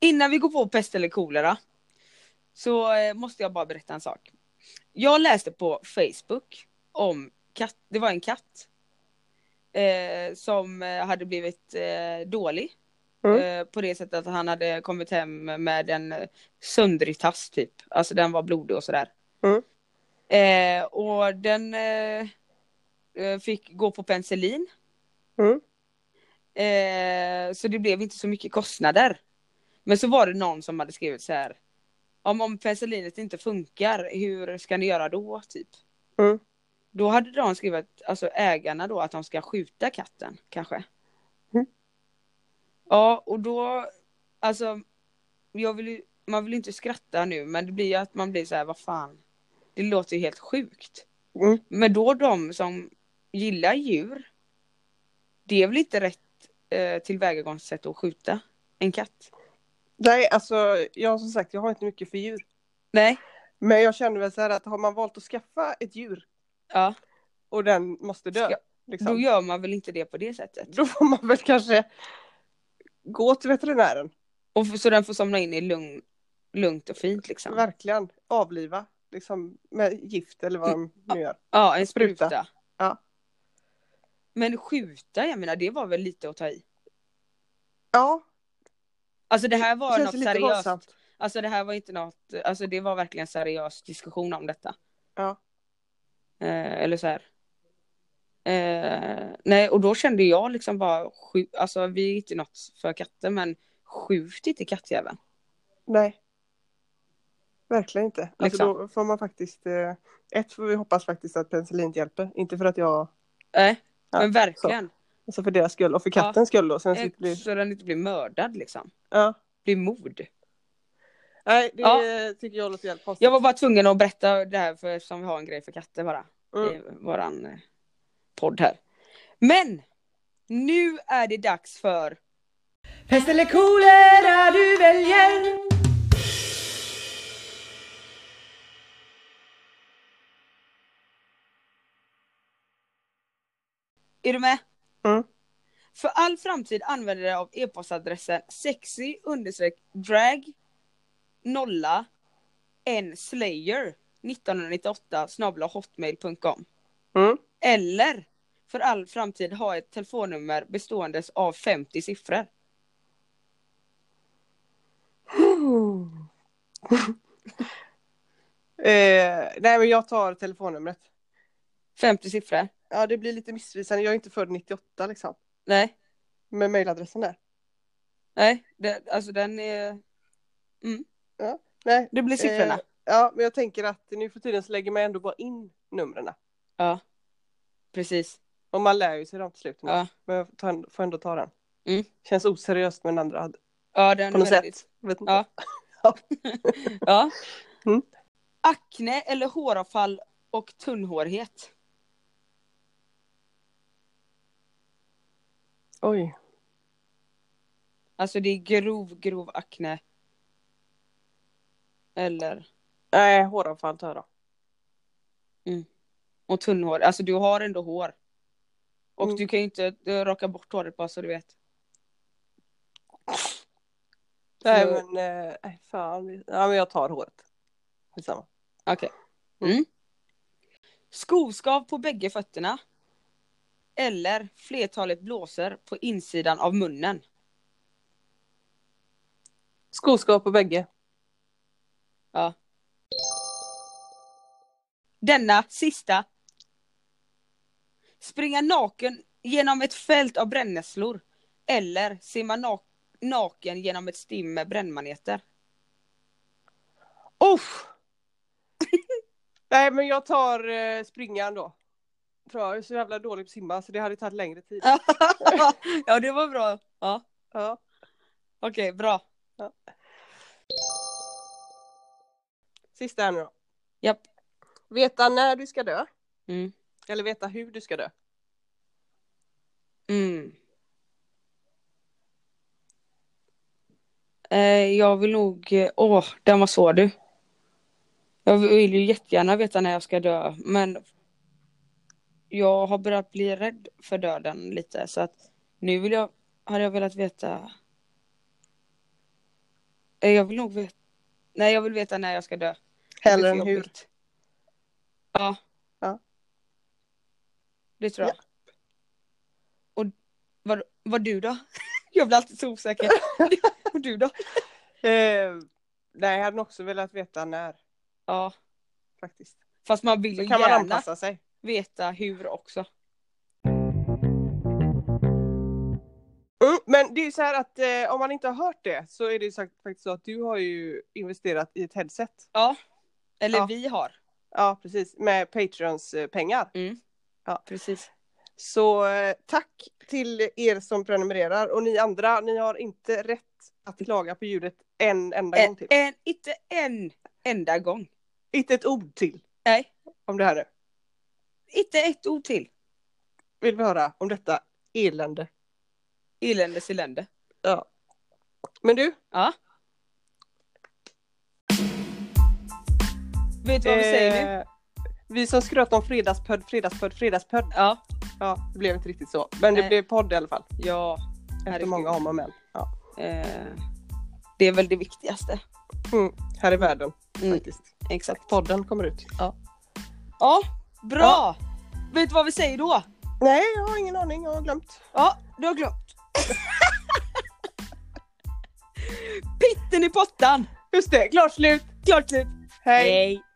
Speaker 1: Innan vi går på pest eller kolera så eh, måste jag bara berätta en sak. Jag läste på Facebook om katt, det var en katt eh, som eh, hade blivit eh, dålig
Speaker 2: Mm.
Speaker 1: eh, på det sättet att han hade kommit hem med en eh, söndrig tass typ, alltså den var blodig och sådär.
Speaker 2: Mm.
Speaker 1: Eh, och den eh, eh, fick gå på penicillin
Speaker 2: Mm.
Speaker 1: Eh, så det blev inte så mycket kostnader. Men så var det någon som hade skrivit så här. Om, om penicillinet inte funkar, hur ska ni göra då? Typ.
Speaker 2: Mm.
Speaker 1: Då hade de skrivit, alltså ägarna då, att de ska skjuta katten kanske.
Speaker 2: Mm.
Speaker 1: Ja, och då, alltså, jag vill ju, man vill ju inte skratta nu, men det blir ju att man blir så här, vad fan. Det låter ju helt sjukt.
Speaker 2: Mm.
Speaker 1: Men då de som gillar djur, det är väl inte rätt eh, tillvägagångssätt att skjuta en katt?
Speaker 2: Nej, alltså jag som sagt, jag har inte mycket för djur.
Speaker 1: Nej.
Speaker 2: Men jag känner väl så här att har man valt att skaffa ett djur
Speaker 1: Ja,
Speaker 2: och den måste dö,
Speaker 1: Ska-
Speaker 2: liksom,
Speaker 1: då gör man väl inte det på det sättet.
Speaker 2: då får man väl kanske gå till veterinären.
Speaker 1: Och f- så den får somna in i lugn, lugnt och fint liksom.
Speaker 2: Verkligen avliva, liksom med gift eller vad de nu gör.
Speaker 1: Mm. Ja, en
Speaker 2: Spruta.
Speaker 1: spruta.
Speaker 2: Ja.
Speaker 1: Men skjuta, jag menar det var väl lite att ta i.
Speaker 2: Ja,
Speaker 1: Alltså det här
Speaker 2: det
Speaker 1: var
Speaker 2: känns
Speaker 1: något
Speaker 2: lite
Speaker 1: seriöst.
Speaker 2: våldsamt.
Speaker 1: Alltså det här var inte något, alltså det var verkligen en seriös diskussion om detta.
Speaker 2: Ja.
Speaker 1: Eh, eller så här. Eh, nej, och då kände jag liksom bara, skju- alltså vi är inte något för katter men skjut inte kattjäveln.
Speaker 2: Nej. Verkligen inte. Alltså
Speaker 1: Liksom.
Speaker 2: då får man faktiskt, eh, ett får vi hoppas faktiskt att penicillin hjälper, inte för att jag,
Speaker 1: Nej,
Speaker 2: Ja,
Speaker 1: men verkligen.
Speaker 2: alltså för deras skull och för
Speaker 1: Ja.
Speaker 2: kattens skull då. Sen
Speaker 1: Eh,
Speaker 2: slipper vi,
Speaker 1: Så den inte blir mördad liksom.
Speaker 2: ja.
Speaker 1: Blir mord.
Speaker 2: Nej, det
Speaker 1: Ja.
Speaker 2: eh, tycker jag låter jävligt konstigt.
Speaker 1: Jag var bara tvungen att berätta det här för eftersom vi har en grej för katter bara.
Speaker 2: Mm.
Speaker 1: I våran eh, podd här. Men! Nu är det dags för
Speaker 3: Pest eller kolera du väljer
Speaker 1: Är du med?
Speaker 2: Mm.
Speaker 1: För all framtid använder dig av e-postadressen sexy drag nolla n slayer 1998 snabla hotmail.com
Speaker 2: Mm.
Speaker 1: eller för all framtid ha ett telefonnummer bestående av 50 siffror.
Speaker 2: Eh, nej men jag tar telefonnumret.
Speaker 1: 50 siffror?
Speaker 2: Ja det blir lite missvisande, jag är inte född 98 liksom.
Speaker 1: Nej,
Speaker 2: Med mejladressen där.
Speaker 1: nej, det, alltså den är... mm.
Speaker 2: Nej.
Speaker 1: Det blir siffrorna.
Speaker 2: Eh, ja men jag tänker att nu för tiden så lägger man ändå bara in numren.
Speaker 1: Ja, precis.
Speaker 2: Och man lär ju sig dem till slut.
Speaker 1: Ja,
Speaker 2: Men jag tar ändå, får ändå ta den.
Speaker 1: Mm.
Speaker 2: Känns oseriöst med den andra hade-
Speaker 1: ja den
Speaker 2: på något
Speaker 1: är väldigt...
Speaker 2: sätt. Vet inte.
Speaker 1: Ja.
Speaker 2: Ja.
Speaker 1: ja.
Speaker 2: Mm.
Speaker 1: Akne eller håravfall och tunnhårighet?
Speaker 2: Oj.
Speaker 1: Alltså det är grov, grov akne. Eller...
Speaker 2: Nej håravfall tar jag då.
Speaker 1: Och tunnhår. Alltså du har ändå hår. Och
Speaker 2: Mm.
Speaker 1: du kan ju inte eh, raka bort håret bara så du vet.
Speaker 2: Nej
Speaker 1: Så-
Speaker 2: men eh, nej, fan. Ja men jag tar håret. Detsamma.
Speaker 1: Okej.
Speaker 2: Mm.
Speaker 1: Mm. Skoskav på bägge fötterna. Eller flertalet blåsor på insidan av munnen.
Speaker 2: Skoskav på bägge.
Speaker 1: Ja. Denna sista. Springa naken genom ett fält av brännässlor. Eller simma na- naken genom ett stim med brännmaneter.
Speaker 2: Uff. Nej men jag tar eh, springan då. Tror jag. jag är så jävla dålig på att simma så det hade tagit längre tid.
Speaker 1: ja, det var bra. Ja,
Speaker 2: Ja.
Speaker 1: okej, bra.
Speaker 2: Sista här nu då.
Speaker 1: Japp.
Speaker 2: Veta när du ska dö.
Speaker 1: Mm.
Speaker 2: Eller veta hur du ska dö.
Speaker 1: Mm. Eh, jag vill nog, eh, åh, den var svår du. Jag vill ju jättegärna veta när jag ska dö, men jag har börjat bli rädd för döden lite, så att nu vill jag, hade jag velat veta. Eh, Jag vill nog veta, nej jag vill veta när jag ska dö. Det är
Speaker 2: Hellre
Speaker 1: för
Speaker 2: än hur.
Speaker 1: jobbigt. Ja.
Speaker 2: Ja.
Speaker 1: Det tror jag. Och vad, vad du då? Jag blir alltid så osäker. Och du då?
Speaker 2: Eh, nej, jag hade också velat veta när
Speaker 1: Ja,
Speaker 2: faktiskt.
Speaker 1: fast man vill ju
Speaker 2: Så kan man
Speaker 1: gärna
Speaker 2: anpassa sig.
Speaker 1: veta hur också.
Speaker 2: Mm, men det är ju så här att eh, om man inte har hört det så är det ju sagt- faktiskt så att du har ju investerat i ett headset.
Speaker 1: Ja, eller
Speaker 2: Ja.
Speaker 1: vi har.
Speaker 2: Ja, precis. Med Patreons eh, pengar.
Speaker 1: Precis.
Speaker 2: Så eh, tack till er som prenumererar och ni andra, ni har inte rätt att klaga på ljudet en enda gång
Speaker 1: En,
Speaker 2: till.
Speaker 1: en, inte en enda gång.
Speaker 2: Inte ett ord till
Speaker 1: Nej,
Speaker 2: om det här nu.
Speaker 1: inte ett ord till.
Speaker 2: Vill vi höra om detta elände.
Speaker 1: Eländes elände.
Speaker 2: Men du,
Speaker 1: Ja. Vet du vad vi säger nu?
Speaker 2: eh, vi som skröt om fredagspödd, fredagspödd, fredagspödd.
Speaker 1: Ja,
Speaker 2: Ja, det blev inte riktigt så. Men det
Speaker 1: Nej.
Speaker 2: blev podd i alla fall.
Speaker 1: ja.
Speaker 2: Efter
Speaker 1: Herregud.
Speaker 2: många om och men. Ja.
Speaker 1: Eh, det är väl det viktigaste.
Speaker 2: Mm, här i världen
Speaker 1: Mm.
Speaker 2: faktiskt.
Speaker 1: Exakt.
Speaker 2: Podden kommer ut. Ja.
Speaker 1: Ja, bra. Vet du vad vi säger då?
Speaker 2: Nej, jag har ingen aning. Jag har glömt.
Speaker 1: Ja, du har glömt. Pitten i pottan.
Speaker 2: Just det, klart slut.
Speaker 1: Klart slut.
Speaker 2: Hej.
Speaker 1: Hej.